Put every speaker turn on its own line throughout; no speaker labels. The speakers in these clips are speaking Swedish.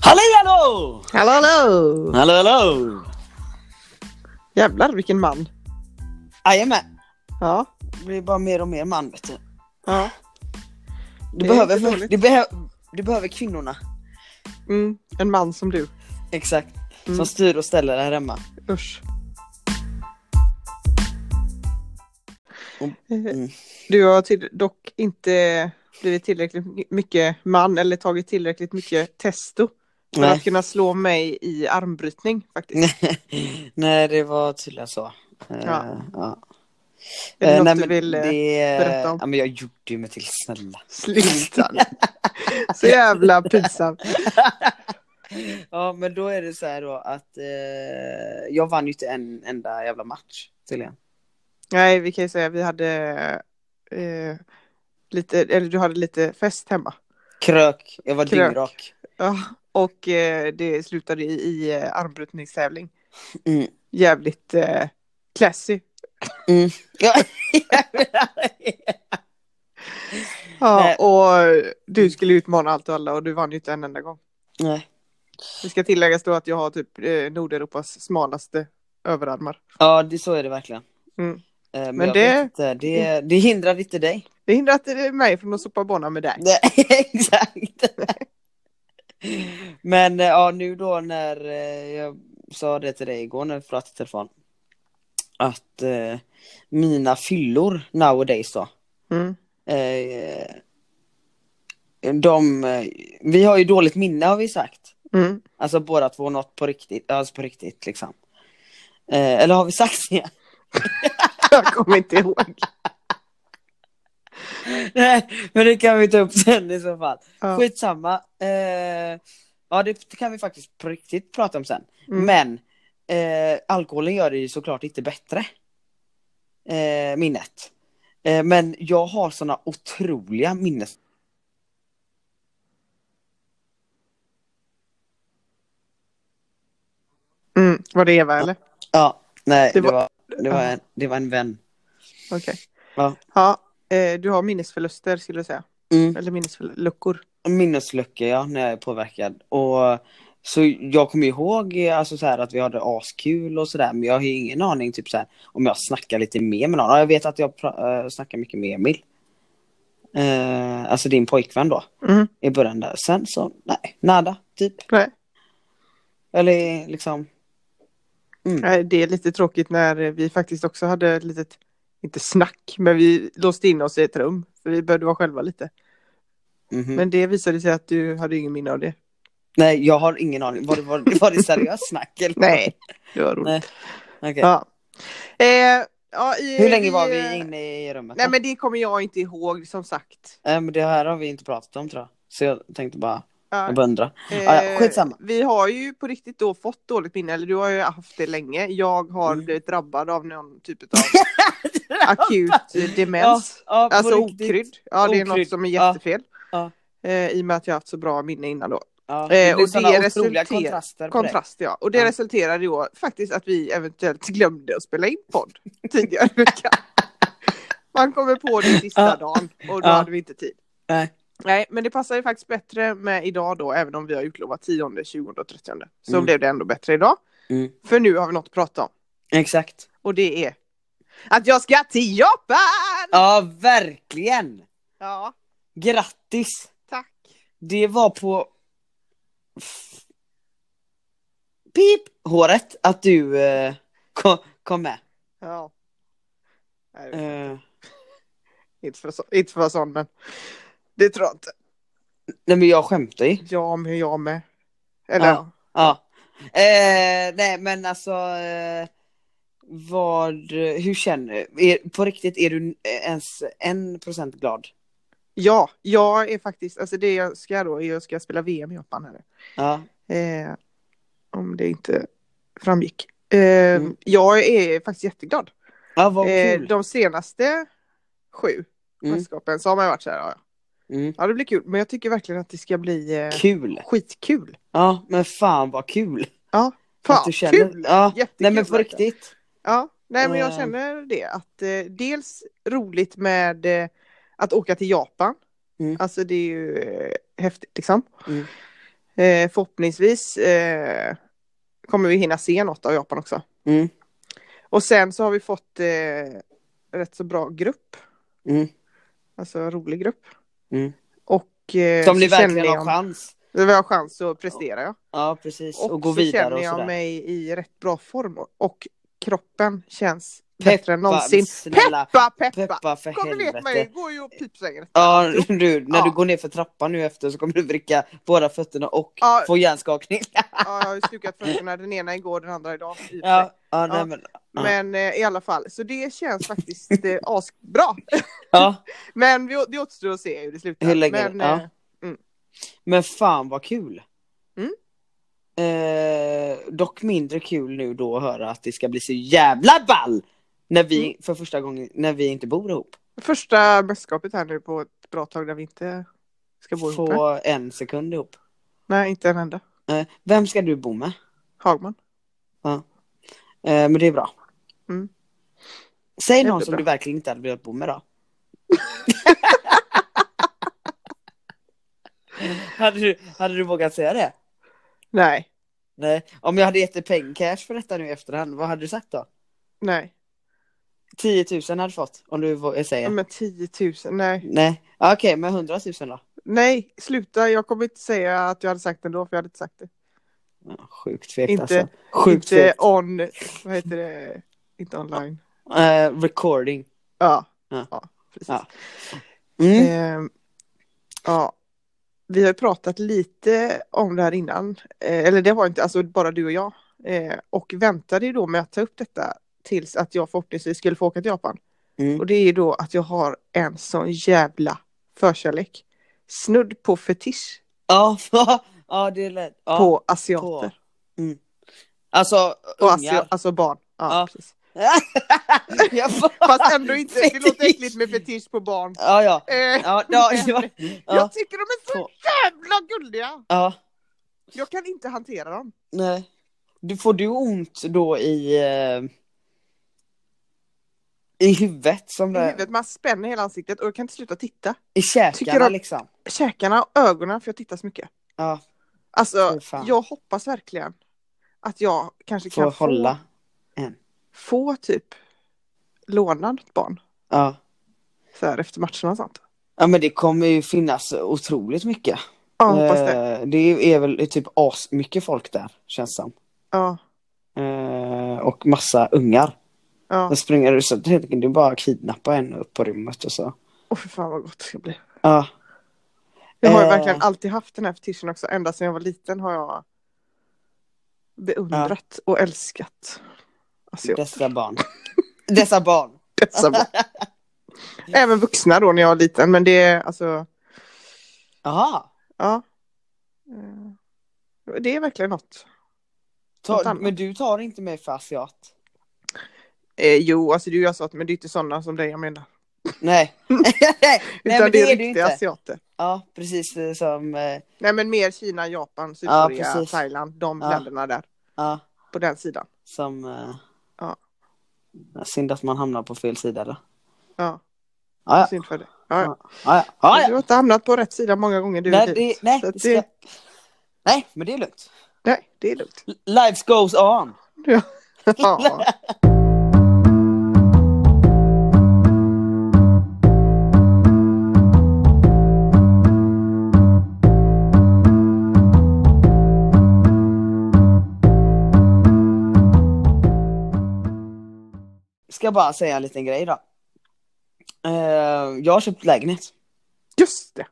Halli hallå!
Hallå hallå!
Hallå hallå!
Jävlar vilken man.
Jajamän,
Ja.
det blir bara mer och mer man vet du.
ja.
Du,
Det är
behöver,
inte dåligt.
du, behö- du behöver kvinnorna.
Mm. En man som du.
Exakt.
Mm.
Som styr och ställer där hemma.
Usch.
Mm.
Eh, Du har till, dock inte blivit tillräckligt my- mycket man eller tagit tillräckligt mycket testo för att
Nej.
kunna slå mig i armbrytning faktiskt.
nej, det var tydligen så. Eh,
Ja.
ja.
Är det
Eh,
något
nej,
du
men
vill eh,
det-
berätta om?
Ja, men jag gjorde ju mig till snälla.
sluta nu? Så jävla pinsamt.
Ja, men då är det så här då att eh, jag vann ju inte en enda jävla match tydligen.
Nej, vi kan ju säga vi hade eh, lite, eller du hade lite fest hemma.
Krök, jag var
Krök.
dyngrak.
Ja, och eh, det slutade i, i eh, armbrytningstävling.
Mm.
Jävligt eh, classy.
Ja.
Ja,
Nej.
och du skulle utmana allt och alla och du vann ju inte en enda gång.
Nej.
Det ska tilläggas då att jag har typ eh, Nordeuropas smalaste överarmar.
ja, det, så är det verkligen.
Mm.
Eh, Men,
Men
jag
det-
vet inte, det, det hindrar inte dig.
Det hindrar inte mig från att sopa bonna med dig.
Nej, Exakt. Men eh, ja, nu då när eh, jag sa det till dig igår när vi pratade i telefon. Att eh, mina fyllor nowadays då.
Mm.
Eh, de, eh, vi har ju dåligt minne har vi sagt.
Mm.
Alltså båda två något på riktigt, alltså på riktigt liksom. Eh, eller har vi sagt det?
Jag kommer inte ihåg.
Nej, men det kan vi ta upp sen i så fall.
Ja.
Skitsamma. Eh, ja, det kan vi faktiskt på riktigt prata om sen.
Mm.
Men eh, alkoholen gör det ju såklart inte bättre. Eh, minnet. Eh, men jag har såna otroliga minnes...
Mm. Var det Eva eller?
Ja, nej,
Det
det
var-
var, det var, en, det var en vän.
Okej.
Ja.
Ja, eh, du har minnesförluster skulle jag säga.
Mm.
Eller minnesluckor.
Minnesluckor, ja, när jag är påverkad. Och, så jag kommer ihåg eh, alltså, så här, att vi hade askul och sådär, men jag har ju ingen aning typ, så här, om jag snackar lite mer med någon. Ja, Jag vet att jag pra- eh, snackar mycket med Emil. Eh, alltså din pojkvän då,
Mm.
i början där. Sen så, nej, nada, typ.
Nej.
Eller liksom,
Nej, det är lite tråkigt när vi faktiskt också hade ett litet, inte snack, men vi låste in oss i ett rum. För vi behövde vara själva lite.
Mm. mhm.
Men det visade sig att du hade ingen minne av det.
Nej, jag har ingen aning. Var det, var, det- var det seriöst snack? Eller?
Det var roligt.
Nej, Okej.
Ja. Eh, ja, i,
Hur länge var vi inne i rummet?
Nej
då?
men det kommer jag inte ihåg som sagt.
Eh, men det här har vi inte pratat om tror jag. Så jag tänkte bara,
Ja, eh,
jag bara undrar. ja, skitsamma.
Vi har ju på riktigt då fått dåligt minne, eller du har ju haft det länge. Jag har
Mm.
blivit drabbad av någon typ av akut demens.
Ja, på
alltså
riktigt.
okrydd. Ja det är något
Okrydd.
som är
Ja.
jättefel.
Ja,
Eh, I och med att jag haft så bra minne innan då.
ja.
Eh,
Det
och
blir såna
det
otroliga
resulterar-
kontraster på dig.
Kontrast ja. Och det
Ja.
resulterade då faktiskt att vi eventuellt glömde att spela in podd tidigare i veckan. Man kommer på det sista
Ja.
dagen och då
Ja.
hade vi inte tid.
Nej.
Nej, men det passar ju faktiskt bättre med idag då, även om vi har utlovat 10, 20 och 30. Så
Mm.
blev det ändå bättre idag.
Mm.
För nu har vi något att prata om.
Exakt.
Och det är att jag ska till Japan!
Ja, verkligen!
Ja,
Grattis!
tack.
Det var på... F- Pip! Håret att du eh, kom, kom med.
Ja. Nej,
Eh,
inte, för så, inte för att vara sån, men det tror jag inte.
nej men jag skämtar ju.
Ja, men jag med. Eller
Ja.
ja.
Ja. Eh, nej men alltså. Eh, vad, hur känner du? Är, på riktigt, är du ens en procent glad?
Ja, jag är faktiskt, alltså det jag ska då, är jag ska spela VM i Japan här. nu.
Ja.
Eh, om det inte framgick. Eh,
Mm.
Jag är faktiskt jätteglad.
Ja, vad
Eh,
kul.
de senaste sju
Mm.
mästerskapen så har man ju varit så här, ja,
Mm.
ja det blir kul, men jag tycker verkligen att det ska bli eh,
Kul.
skitkul.
Ja, men fan vad kul.
Fan,
att du känner.
kul!
Ja.
Jättekul!
Nej men på
verkligen.
riktigt.
Ja, nej men jag
Eh.
känner det att eh, dels roligt med eh, att åka till Japan.
Mm.
Alltså det är ju eh, häftigt liksom.
Mm.
Eh, förhoppningsvis eh, kommer vi hinna se något av Japan också.
Mm.
Och sen så har vi fått eh, rätt så bra grupp.
Mm.
Alltså en rolig grupp.
Mm.
Och eh,
Som ni
så känner
verkligen har
jag-
chans.
Vi har chans att prestera ja.
Ja, precis. Och,
Och,
gå
så
vidare
känner
och sådär.
jag mig i rätt bra form. Och kroppen känns
Peppa,
bättre än någonsin.
snälla.
Peppa, peppa!
Peppa för
Kom och lek med
helvete.
mig, gå ju och pipsvängen.
Ja, du, när
Ja.
du går ner för trappan nu efter så kommer du vricka båda fötterna och
Ja.
få hjärnskakning.
Ja, jag har ju stukat fötterna, den ena igår, den andra idag. i och för sig.
ja, ja, nej
Ja.
men. ja.
Men eh, i alla fall, så det känns faktiskt eh, asbra.
Ja.
Men vi, det återstår att se hur det slutar.
Hur länge-
Men,
ja.
eh,
Men fan vad kul!
Mm.
Eh, dock mindre kul nu då att höra att det ska bli så jävla ball! När vi,
Mm.
för första gången, när vi inte bor ihop.
Första mästerskapet här nu på ett bra tag där vi inte ska bo ihop. med.
Få en sekund ihop.
Nej, inte en enda.
Eh, vem ska du bo med?
Hagman.
Eh, men det är bra.
Mm.
Säg
Det
någon
blir
som
bra.
du verkligen inte hade velat bo med då. hade, du, hade du vågat säga det?
Nej,
Nej. Om jag hade gett dig pengcash för detta nu i efterhand, vad hade du sagt då?
nej.
10 000 hade du fått om du vå- eh, säger.
Men 10 000, nej.
Nej, Ja, okej, men 100 000 då?
Nej, sluta. Jag kommer inte säga att jag hade sagt det ändå, för jag hade inte sagt det.
Ja, Sjukt fegt
Inte-
alltså. Sjukt
inte
fegt.
on, vad heter det, inte online.
Eh, recording.
Ja,
Ja.
ja. precis.
Ja. Mm.
Ehm, ja. Vi har pratat lite om det här innan, eh, eller det var inte, alltså bara du och jag. Eh, och väntade ju då med att ta upp detta tills att jag förhoppningsvis skulle få åka till Japan.
Mm.
Och det är ju då att jag har en sån jävla förkärlek. Snudd på fetisch
Ja, ja, det är lätt. Ja,
på asiater.
Mm. Alltså,
Och
ungar.
asio, alltså barn. Ja,
Ja.
precis.
Jag
Fast ändå inte, det låter
Fetisch.
äckligt med fetisch på barn.
Ja, ja.
Eh,
Ja, ja, ja, ja,
Jag tycker de är
Två.
så jävla gulliga!
ja.
Jag kan inte hantera dem.
Nej. Du, får du ont då i... eh, I huvudet som
I
det...
huvudet, man spänner hela ansiktet och jag kan inte sluta titta.
I
Tycker
käkarna
de-
liksom.
Käkarna och ögonen, för jag tittar så mycket.
Ja,
Alltså,
Fy fan.
jag hoppas verkligen att jag kanske
får
kan
hålla.
Få, få typ låna något barn.
Ja.
Så här efter matcherna och sånt.
ja, men det kommer ju finnas otroligt mycket.
Ja, hoppas det.
Eh, det är väl typ as mycket folk där, känns som.
Ja,
Eh, och massa ungar.
ja.
De springer ut så det är bara att kidnappa en upp på rummet och så.
Åh fy fan vad gott det ska bli.
Ja,
Jag har ju
Eh.
verkligen alltid haft den här fetischen också. Ända sedan jag var liten har jag beundrat och älskat. Alltså, jag,
dessa barn. Dessa barn.
dessa barn. Även vuxna då när jag var liten, men det är alltså,
Jaha.
ja. Eh, Det är verkligen något. Något
Ta,
annat.
men du tar inte mig för asiat?
Eh, jo, alltså du gör så att, men det är inte sådana som dig jag menar.
Nej. Nej
Utan
men
det är
du
riktiga asiater.
Ja precis eh, som, eh,
Nej men mer Kina, Japan, Sydkorea,
precis.
Thailand, de
Ja.
länderna där.
ja,
På den sidan.
som eh,
Ja.
Synd att man hamnar på fel sida då.
Ja,
Ja, ja,
synd för det. Ja, ja.
ja, ja,
Du
ja.
har inte hamnat på rätt sida många gånger du i
Nej,
livet.
det, nej,
Så att
det
det-
ska... nej men det är lugnt.
nej, det är lugnt.
Life goes on.
Ja.
Ska bara säga en liten grej då. Eh, jag har köpt lägenhet.
Just det.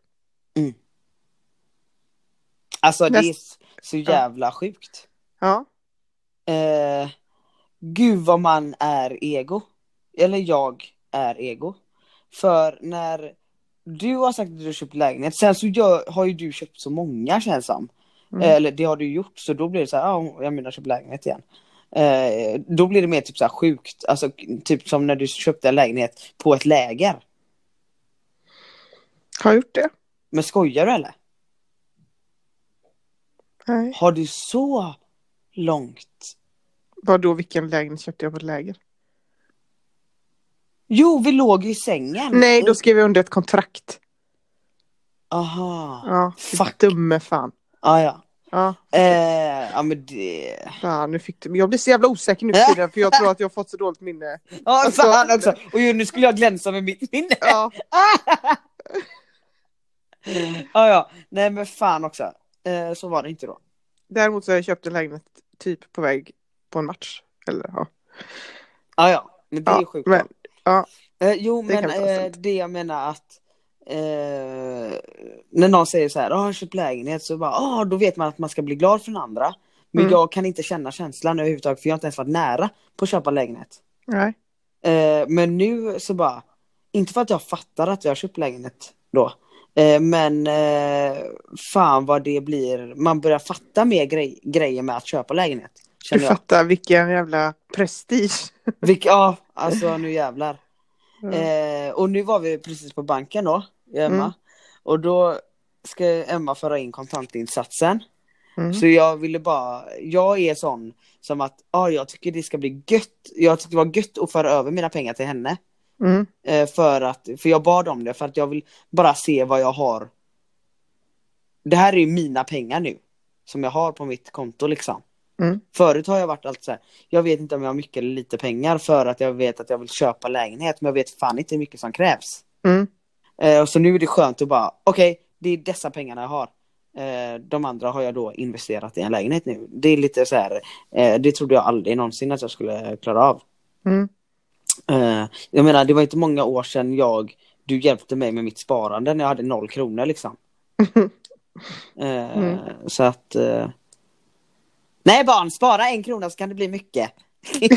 Alltså det är
Näst-
så jävla sjukt.
Ja.
Eh, gud vad man är ego. Eller jag är ego. För när du har sagt att du har köpt lägenhet, sen så gör, har ju du köpt så många känns som.
Mm.
Eh, Eller det har du gjort, så då blir det så här, ja, jag menar jag har köpt lägenhet igen. Eh, då blir det mer typ så här sjukt, alltså k- typ som när du köpte en lägenhet på ett läger.
Har jag gjort det?
Men skojar du eller?
Nej.
Har du så långt?
Vadå, vilken lägenhet köpte jag på ett läger?
Jo, vi låg ju i sängen.
Nej, då skrev jag under ett kontrakt.
Aha.
Ja, typ
Fuck.
dumme fan.
Ah, ja.
Ja,
Eh, ja men det...
fan, nu fick du... Jag blir så jävla osäker nu för tiden, för jag tror att jag har fått så dåligt minne.
Ja
Alltså-
fan också! Och ju, nu skulle jag glänsa med mitt minne.
Ja, Mm.
Ja ja, nej men fan också. Eh, så var det inte då.
däremot så har jag köpt en lägenhet typ på väg på en match. Eller, ja.
Ja ja, men det är
Ja,
sjukt.
men, ja.
Eh, jo
Det
men
kan vi ta
eh,
sen.
det jag menar att eh, när någon säger så här, "Ah, jag har köpt lägenhet så bara, ah, då vet man att man ska bli glad för den andra. Men
Mm.
jag kan inte känna känslan överhuvudtaget för jag har inte ens varit nära på att köpa lägenhet.
Nej.
Eh, men nu så bara, inte för att jag fattar att jag har köpt lägenhet då, eh, men eh, fan vad det blir, man börjar fatta mer grej, grejer med att köpa lägenhet.
Du
Känner jag.
fattar vilken jävla prestige.
Vilk, ja, alltså nu jävlar.
Ja.
Eh, och nu var vi precis på banken då, i Emma.
Mm.
Och då ska Emma föra in kontantinsatsen.
Mm.
Så jag ville bara, jag är sån som att, ja ah, jag tycker det ska bli gött, jag tyckte det var gött att föra över mina pengar till henne.
Mm.
Eh, för att, för jag bad om det för att jag vill bara se vad jag har. Det här är ju mina pengar nu. Som jag har på mitt konto liksom.
Mm.
Förut har jag varit alltid så här. Jag vet inte om jag har mycket eller lite pengar för att jag vet att jag vill köpa lägenhet. Men jag vet fan inte hur mycket som krävs.
Mm.
Eh, och så nu är det skönt att bara, okej, det är dessa pengarna jag har. Eh, de andra har jag då investerat i en lägenhet nu. Det är lite så här, eh, det trodde jag aldrig någonsin att jag skulle klara av.
Mm.
Eh, jag menar, det var inte många år sedan jag, du hjälpte mig med mitt sparande när jag hade noll kronor liksom. Eh,
Mm.
Så att... Eh... Nej barn, spara en krona så kan det bli mycket.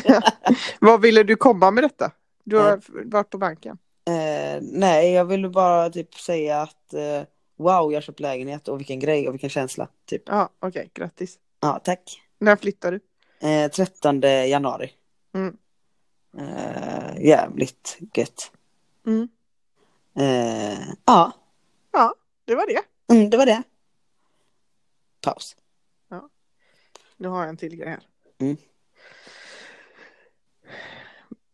Vad ville du komma med detta? Du har
Ja.
f- varit på banken.
Eh, nej, jag ville bara typ säga att eh, wow, jag har köpt lägenhet och vilken grej och vilken känsla. Typ.
Ja, okej, grattis.
Ja, tack.
När flyttar du?
Eh, 13 januari.
Mm.
Eh, jävligt gött.
Mm.
Eh, ja,
Det var det.
mm, det var det. Paus.
Nu har jag en till grej här.
Mm.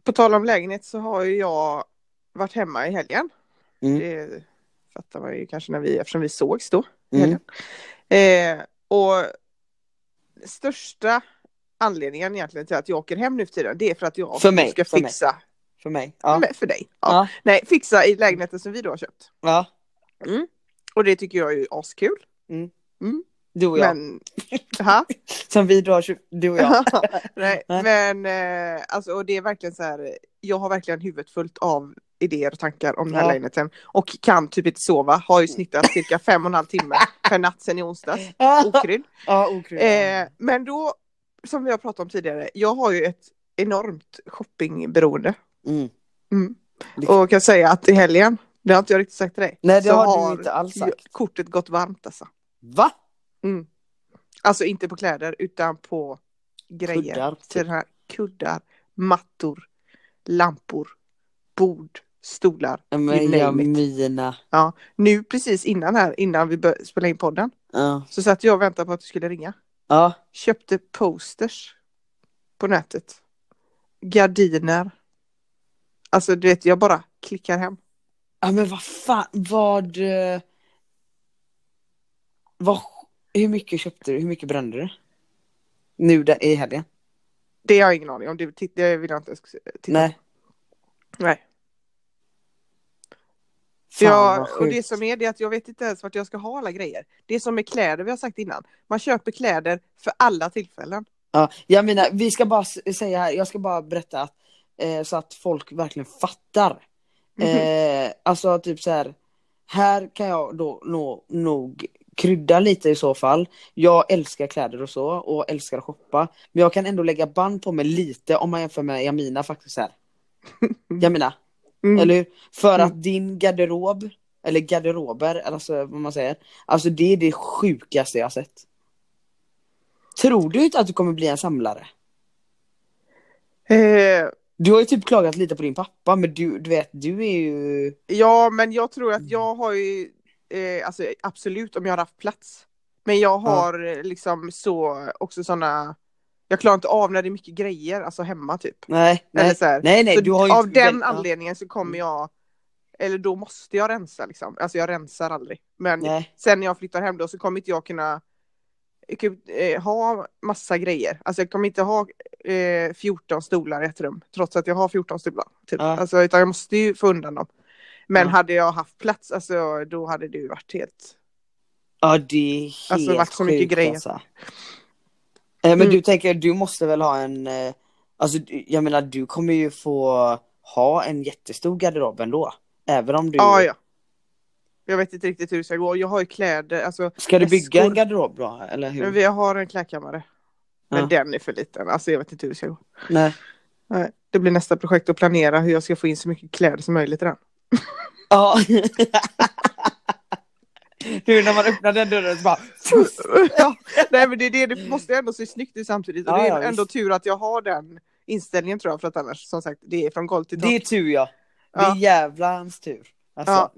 På tal om lägenhet så har ju jag varit hemma i helgen.
Mm.
Det fattar man ju kanske när vi, eftersom vi sågs då. i
Mm.
helgen. Eh, och största anledningen egentligen till att jag åker hem nu för tiden det är för att jag
För mig,
ska
för mig.
fixa.
För mig. Ja.
Nej, för dig. Ja.
Ja.
Nej, fixa i lägenheten som vi då har köpt.
ja.
Och det tycker jag är ju askul.
Du och jag.
Men... Ha?
Som vi drar, tjuv- du och jag.
Nej,
Nej.
men eh, alltså, och det är verkligen så här, jag har verkligen huvudet fullt av idéer och tankar om den här
Ja. Mm.
lägenheten och kan typ inte sova, har ju snittat cirka fem och en halv timme per natt sen i onsdags,
Ah.
okrydd.
ja, okrydd.
Eh, men då, som vi har pratat om tidigare, jag har ju ett enormt shoppingberoende
Mm.
mm.
Liksom.
och kan säga att i helgen, det har inte jag riktigt sagt till dig,
Nej, det
så
har du inte alls
ju-
sagt.
kortet gått varmt alltså.
Va?
Alltså inte på kläder utan på grejer.
Kuddar, typ.
Till den här kuddar, mattor, lampor, bord, stolar.
Ja,
You
Men
name
jag
it.
mina.
Nu precis innan här, innan vi började spela in podden,
Ja.
så satt jag och väntade på att du skulle ringa.
Ja.
Köpte posters på nätet. Gardiner. Alltså du vet, jag bara klickar hem.
ja men vad fan, vad... eh, vad hur mycket köpte du? Hur mycket brände du? Nu där, i helgen?
Det har jag ingen aning om, det, titt- det vill jag inte ens titta
Nej.
Nej.
Fan vad
jag, och
sjukt.
det som är det är att jag vet inte ens vart jag ska ha alla grejer. Det är som med kläder vi har sagt innan. Man köper kläder för alla tillfällen.
Ja, jag menar, vi ska bara s- säga här, jag ska bara berätta att, eh, så att folk verkligen fattar. Eh, alltså typ så här, här kan jag då nå, nog krydda lite i så fall. Jag älskar kläder och så och älskar att shoppa. Men jag kan ändå lägga band på mig lite om man jämför med Jamina faktiskt här. Jamina,
Mm.
eller hur? För
Mm.
att din garderob, eller garderober, alltså vad man säger. Alltså det är det sjukaste jag har sett. Tror du inte att du kommer bli en samlare?
Eh,
Du har ju typ klagat lite på din pappa men du, du vet, du är ju...
ja, men jag tror
Mm.
att jag har ju, eh, alltså absolut om jag har haft plats. Men jag har eh, liksom så, också sådana, jag klarar inte av när det är mycket grejer, alltså hemma typ.
Nej,
Eller
nej.
så här.
Nej, nej,
så
du har ju
av
inte-
den
Ja. Mm.
anledningen så kommer jag, eller då måste jag rensa liksom. Alltså jag rensar aldrig. Men
Nej.
sen när jag flyttar hem då så kommer inte jag kunna ku- eh, ha massa grejer. Alltså jag kommer inte ha eh, 14 stolar i ett rum, trots att jag har 14 stolar. Typ.
Ja.
Alltså, utan jag måste ju få undan dem. Men
Ja.
hade jag haft plats, alltså, då hade det ju varit helt...
Ja det är helt
Alltså, det vart så mycket
sjukt,
grejer.
Alltså. Eh, Men
Mm.
du tänker, du måste väl ha en, eh, alltså du- jag menar du kommer ju få ha en jättestor garderob ändå. Även om du,
Ja, ja. Jag vet inte riktigt hur det ska gå. Jag har ju kläder, alltså,
ska du bygga en
Väskor.
garderob då eller hur?
men vi har en klädkammare. Men
Ja.
den är för liten, alltså jag vet inte hur det ska gå.
Nej.
Nej, det blir nästa projekt att planera hur jag ska få in så mycket kläder som möjligt i den.
Ja. du när man öppnar den dörren så bara,
ja, nej men det, är det, det måste ju ändå se snyggt ut samtidigt. Och
Ja,
det är
ja,
ändå
visst.
tur att jag har den inställningen tror jag. För att annars som sagt, det är från golv till tak.
det är tur ja. Det är
Ja.
jävlans tur. Alltså.
Ja.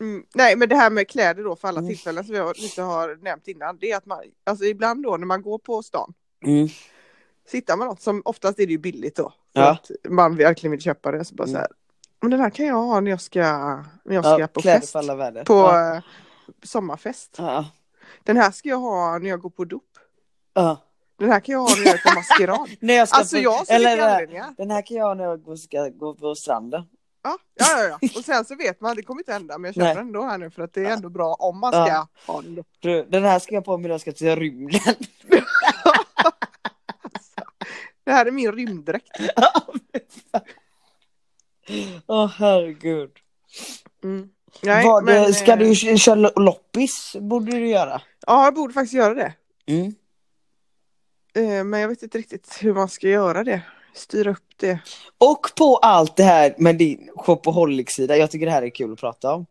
Mm, nej men det här med kläder då för alla
Mm.
tillfällen som jag lite har nämnt innan. Det är att man, alltså ibland då när man går på stan.
Mm.
Så hittar man något som oftast är det ju billigt då. För
Ja.
att man verkligen vill köpa det. Så bara
Mm.
så här, men den här kan jag ha när jag ska, när jag ska
Ja,
på
kläder
fest.
för alla väder.
På
Ja.
eh, sommarfest.
Ja.
Den här ska jag ha när jag går på dop.
Ja.
Den här kan jag ha när jag är på maskerad.
När jag ska
Alltså
på-
jag har så
eller,
mycket
det här-
anledningar.
Den här kan jag ha när jag ska gå på stranden.
Ja, ja, ja, ja. Och sen så vet man, det kommer inte hända, men jag köper
Nej.
den ändå här nu för att det är
Ja.
ändå bra om man
Ja.
ska ha den. då.
Du, den här ska jag på mig när jag ska till rymden.
Det här är min rymddräkt.
Åh herregud.
Nej,
Mm. Vad,
men,
eh, ska
eh,
du kö- köra lo- loppis? Borde du göra.
Ja, jag borde faktiskt göra det.
Mm.
Eh, Men jag vet inte riktigt hur man ska göra det. Styra upp det.
Och på allt det här med din shopaholic-sida, jag tycker det här är kul att prata om.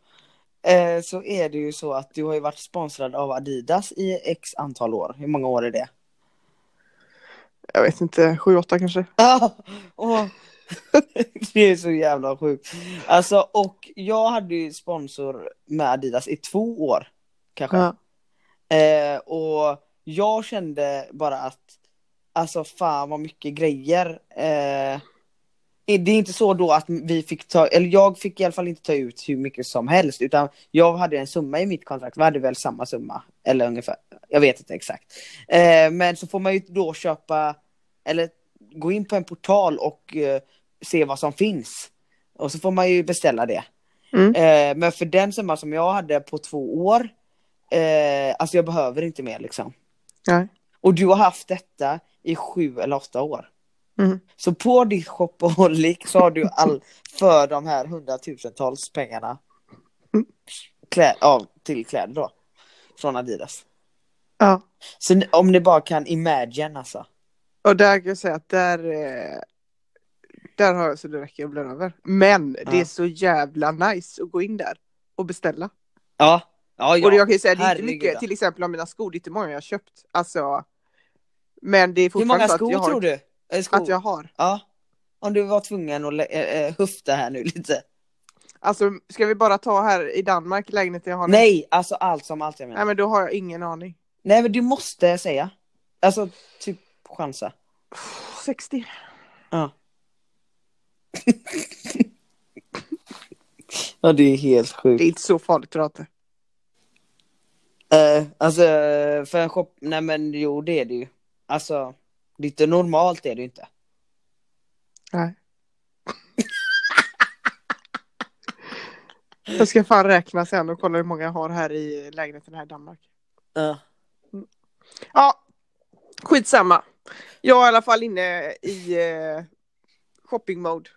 Eh, så är det ju så att du har ju varit sponsrad av Adidas i x antal år. Hur många år är det?
Jag vet inte, sju, åtta kanske.
Ja, och- Ah, det är så jävla sjukt. Alltså, och jag hade ju sponsor med Adidas i två år. Kanske.
Ja.
Eh, och jag kände bara att, alltså fan vad mycket grejer. Eh, det är inte så då att vi fick ta, eller jag fick i alla fall inte ta ut hur mycket som helst utan jag hade en summa i mitt kontrakt, vi hade väl samma summa. Eller ungefär, jag vet inte exakt. Eh, men så får man ju då köpa, eller gå in på en portal och eh, se vad som finns. Och så får man ju beställa det.
Mm.
Eh, men för den summa som jag hade på två år, eh, alltså jag behöver inte mer liksom.
Nej.
Och du har haft detta i sju eller åtta år.
Mm.
Så på ditt shopaholic så har du all för de här hundratusentals pengarna
Mm.
klä, av, till kläder då. Från Adidas.
Ja.
Så ni- om ni bara kan imagine alltså.
Och där kan jag säga att där, eh, där har jag så det räcker, jag blir över. Men det
Ja.
är så jävla nice att gå in där och beställa.
Ja, ja, ja.
Och det jag kan ju säga, det är inte
Herregud,
mycket,
ja.
till exempel av mina skor, det är inte många jag har köpt. Alltså, men det är
Hur
fortfarande
många
så
skor
att jag har,
tror du? Eh, Skor?
Att jag har.
Ja. Om du var tvungen att lä- eh, eh, höfta här nu lite.
Alltså, ska vi bara ta här i Danmark, lägenheten jag har nu?
Nej, alltså allt som allt jag menar.
Nej, men då har jag ingen aning.
Nej men du måste säga. Alltså typ chansa.
60.
Ja det är helt
Det
sjukt.
är inte så farligt tror jag inte.
Eh, alltså för en shop, nej men jo det är det ju. Alltså lite normalt är det ju inte.
Nej. jag ska fan räkna sen och kolla hur många jag har här i lägenheten här i Danmark.
Ja.
Ja, skitsamma. Jag är i alla fall inne i eh, shopping mode.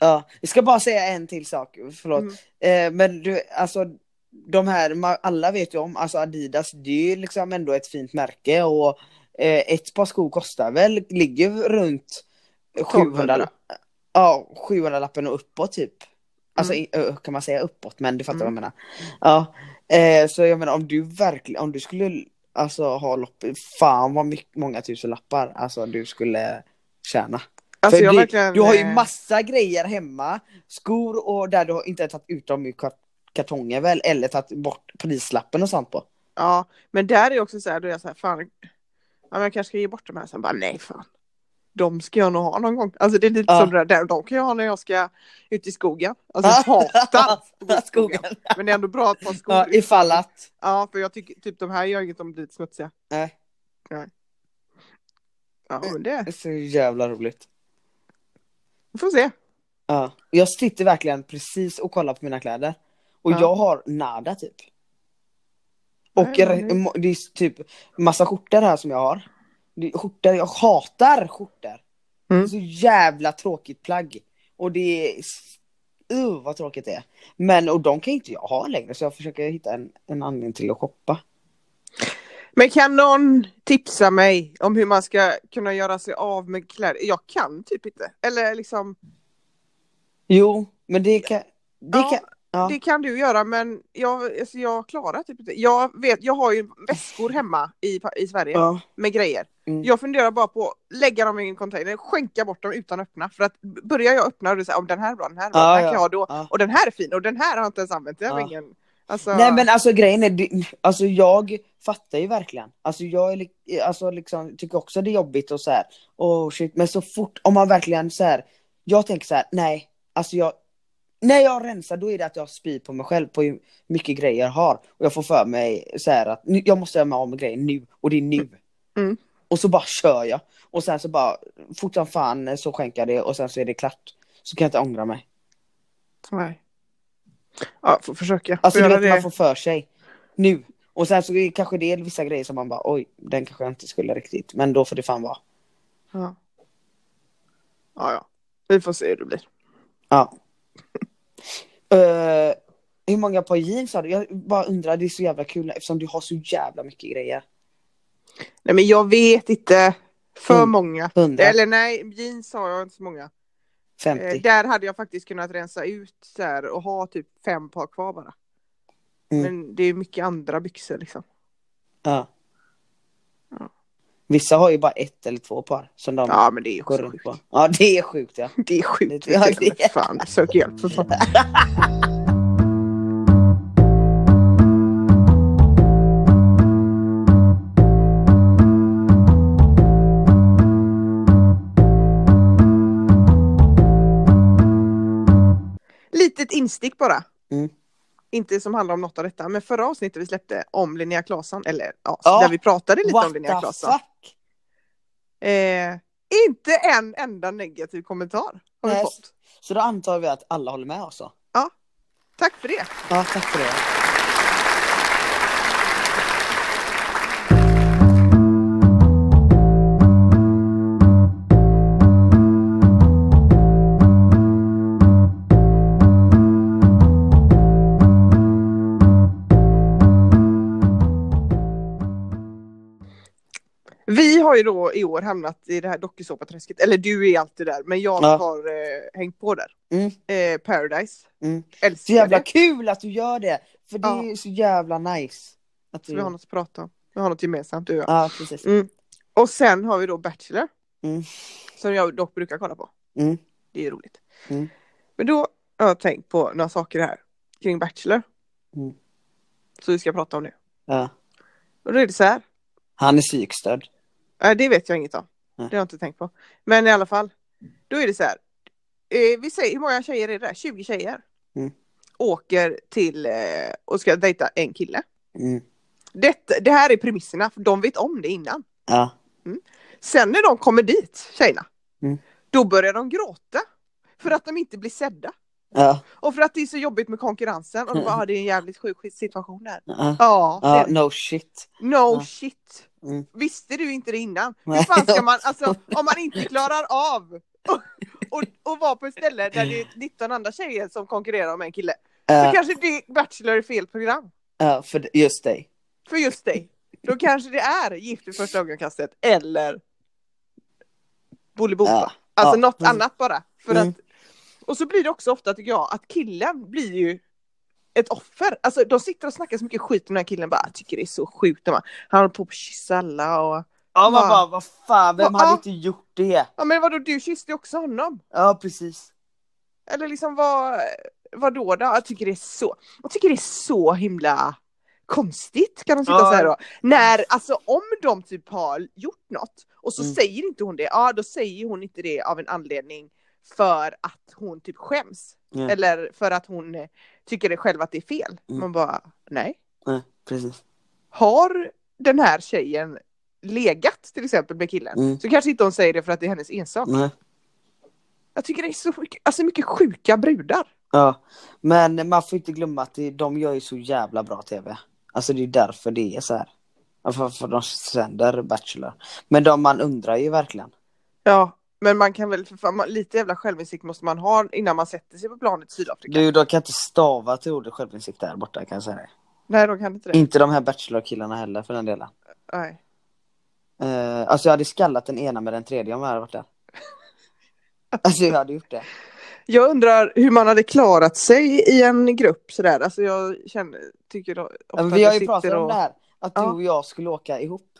Ja, jag ska bara säga en till sak, förlåt.
Mm.
Eh, men du, alltså de här, ma- alla vet ju om, alltså Adidas, det är ju liksom ändå ett fint märke och eh, ett par skor kostar väl, ligger runt 700,
1200.
ja, 700 lappen och uppåt typ. Alltså i- ö, kan man säga uppåt, men du fattar
Mm.
vad jag menar. Ja, eh, så jag menar om du verkligen, om du skulle alltså ha lopp, fan vad mycket, många tusen lappar alltså du skulle tjäna.
Alltså,
För
jag
det-
verkligen,
Du har ju
eh,
massa grejer hemma. Skor och där du har inte tagit ut dem ur kart- kartongen väl? Eller tagit bort prislappen och sånt på.
Ja, men där är också så här, då är jag så här, fan, ja, men jag kanske ska ge bort de här, sen bara nej fan. De ska jag nog ha någon gång. Alltså det är lite
Ja.
som det där, där, de kan jag ha när jag ska ut i skogen. Alltså jag hatar att gå i skogen.
skogen.
Men det är ändå bra att ha skor.
Ja, ifall att.
Ja, för jag tycker typ de här gör inget om det blir smutsiga.
Nej.
Ja, men det
Det är så jävla roligt.
vi får se.
Ja. Jag sitter verkligen precis och kollar på mina kläder. Och
Ja. Mm,
jag har nada typ. Och
Nej, men det-
re- det är typ massa skjortor här som jag har. Det är skjortor, jag hatar skjortor. Det
Mm.
är så jävla tråkigt plagg. Och det är... s- Uh, vad tråkigt det är. Men och de kan inte jag ha längre så jag försöker hitta en, en anledning till att shoppa.
Men kan någon tipsa mig om hur man ska kunna göra sig av med kläder? Jag kan typ inte. Eller liksom,
Jo, men det kan... Det
Ja.
kan ja.
det kan du göra men jag, alltså, jag klarar typ inte. Jag vet, jag har ju väskor hemma i, i Sverige
ja.
med grejer.
Mm.
Jag funderar bara på att lägga dem i en container, skänka bort dem utan att öppna. För att börjar jag öppna och det är så här, om den här är bra, den här är bra,
Ja,
den här
ja,
kan jag ha då.
ja.
Och den här är fin och den här har jag inte ens använt. Det har
Ja.
ingen... Alltså,
Nej men alltså grejen är, det- alltså jag fattar ju verkligen. Alltså jag är, li- alltså, liksom, tycker också det är jobbigt och så här. Oh, shit. Men så fort, om man verkligen så här. Jag tänker så här, nej, alltså jag. När jag rensar då är det att jag spyr på mig själv på hur mycket grejer jag har. Och jag får för mig så här att nu, jag måste göra mig av med grejer nu och det är nu.
Mm.
Och så bara kör jag. Och sen så bara, fort som fan så skänker jag det och sen så är det klart. Så kan jag inte ångra mig.
Nej. Ja, får försöka.
Alltså
får
du
göra
vet,
det.
man får för sig. Nu. Och sen så är- kanske det är vissa grejer som man bara oj, den kanske jag inte skulle riktigt. Men då får det fan vara.
Ja. ja, ja. Vi får se hur det blir.
Ja. Eh, hur många par jeans har du? Jag bara undrar, det är så jävla kul eftersom du har så jävla mycket grejer.
Nej, men jag vet inte. För
Mm.
många.
100,
Eller nej, jeans har jag inte så många.
50.
Eh, där hade jag faktiskt kunnat rensa ut så här och ha typ fem par kvar bara.
Mm.
Men det är mycket andra byxor liksom.
ja.
Ja.
Vissa har ju bara ett eller två par som de
Ja, men det är ju
går
också
runt
sjukt.
på. Ja det är sjukt ja.
Det är sjukt.
Ja, det är-
Men Fan, sök hjälp för fan. Litet instick bara.
Mm.
Inte som handlar om något av detta, men förra avsnittet vi släppte om Linnea Claesson, eller ja,
Ja.
där vi pratade lite om
What the
Linnea Claesson.
fuck?
Eh, inte en enda negativ kommentar har vi
Nej.
fått.
Så då antar vi att alla håller med alltså.
Tack för det.
Ja tack för det.
Vi har ju då i år hamnat i det här dokusåpaträsket, eller du är alltid där, men jag
Ja.
har eh, hängt på där.
Mm.
Eh, Paradise.
Mm. Så
Älskar
jävla
det.
kul att du gör det! För det
Ja.
är så jävla nice. Att
Så
du...
vi har något att prata om. Vi har något gemensamt du och jag.
Ja, precis.
Och sen har vi då Bachelor.
Mm.
Som jag dock brukar kolla på.
Mm.
Det är ju roligt.
Mm.
Men då har jag tänkt på några saker här kring Bachelor.
Mm.
Så vi ska prata om det.
Ja.
Och då är det så här.
Han är psykstörd.
Nej, det vet jag inget om.
Nej.
Det har jag inte tänkt på. Men i alla fall. Då är det så här. Eh, vi säger, hur många tjejer är det där? 20 tjejer.
Mm.
Åker till eh, och ska dejta en kille.
Mm.
Det, det här är premisserna, för de vet om det innan.
Ja.
Sen när de kommer dit, tjejerna,
Mm.
då börjar de gråta. För att de inte blir sedda.
Ja.
Och för att det är så jobbigt med konkurrensen. Och de bara, ah, det är en jävligt sjuk situation här.
Ja.
Ja, det
ja.
är det.
No shit.
No
Ja.
shit.
Mm.
Visste du inte det innan? Hur
Nej.
fan ska man, alltså om man inte klarar av och, och, och vara på ett ställe där det är 19 andra tjejer som konkurrerar om en kille. Så
Ja.
kanske det Bachelor är fel program
Ja, för just dig.
för just dig. Då kanske det är Gift vid första ögonkastet eller Bolibompa.
Ja.
Alltså
Ja,
något
precis.
annat bara. För
Mm.
att, och så blir det också ofta tycker jag att killen blir ju ett offer. Alltså de sitter och snackar så mycket skit om den här killen bara, jag tycker det är så sjukt. De bara, Han håller på att kyssa alla och
Ja, man
Ja.
bara, vad fan, vem
Ja.
hade inte gjort det?
Ja men vadå du kysste ju också honom?
Ja, precis.
Eller liksom vad, vad då då? Jag tycker det är så, jag tycker det är så himla konstigt kan de sitta
Ja.
så här då. När, alltså om de typ har gjort något och så
Mm.
säger inte hon det, ja då säger hon inte det av en anledning för att hon typ skäms.
Ja.
Eller för att hon eh, tycker det själv att det är fel.
Mm.
Man bara, nej.
Ja, precis.
Har den här tjejen legat till exempel med killen
Mm.
så kanske inte hon säger det för att det är hennes ensak.
Nej.
Jag tycker det är så mycket, alltså mycket sjuka brudar.
Ja, men man får inte glömma att det, de gör ju så jävla bra tv. Alltså det är därför det är så här. Ja, För, för de sänder Bachelor. Men de, man undrar ju verkligen.
Ja, men man kan väl, för fan, man, lite jävla självinsikt måste man ha innan man sätter sig på planet i Sydafrika.
Du, de kan inte stava till ordet självinsikt där borta kan jag säga. dig.
Nej, de kan inte det.
Inte de här Bachelor-killarna heller för den delen.
Nej.
Eh, alltså jag hade skallat den ena med den tredje om jag hade varit där. Alltså jag hade gjort det.
Jag undrar hur man hade klarat sig i en grupp sådär. Alltså jag känner, tycker då,
Ja,
ofta
men vi har
det
ju pratat
sitter
om det här. Att du
Ja.
och jag skulle åka ihop.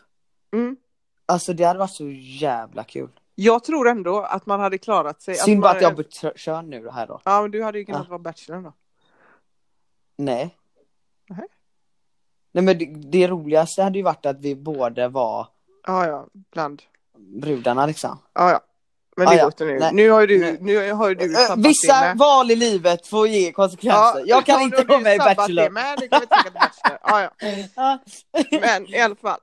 Mm.
Alltså det hade varit så jävla kul.
Jag tror ändå att man hade klarat sig. Alltså,
Synd bara
man-
att jag Ah. bytt kön nu här då.
Ja, men du hade ju kunnat
Ja.
vara bachelorn då.
Nej.
Nej.
Nej men det, det roligaste hade ju varit att vi båda var
Ja, ja, bland.
brudarna liksom.
Ja, ja. Men
Ja,
det
Ah, ja.
går inte nu.
Nej.
Nu har ju du,
Nej.
nu har ju du sabbat det
Eh, Vissa
med.
val i livet får ge konsekvenser. jag kan
ja,
inte
då har
gå
du
med i
sabbat Det
Bachelor.
med. Du kan inte gå med i Bachelor. Ja, ja.
Ja.
Men i alla fall.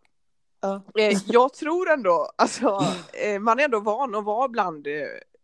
Ja.
Eh, Jag tror ändå, alltså, eh, man är ändå van att vara bland eh,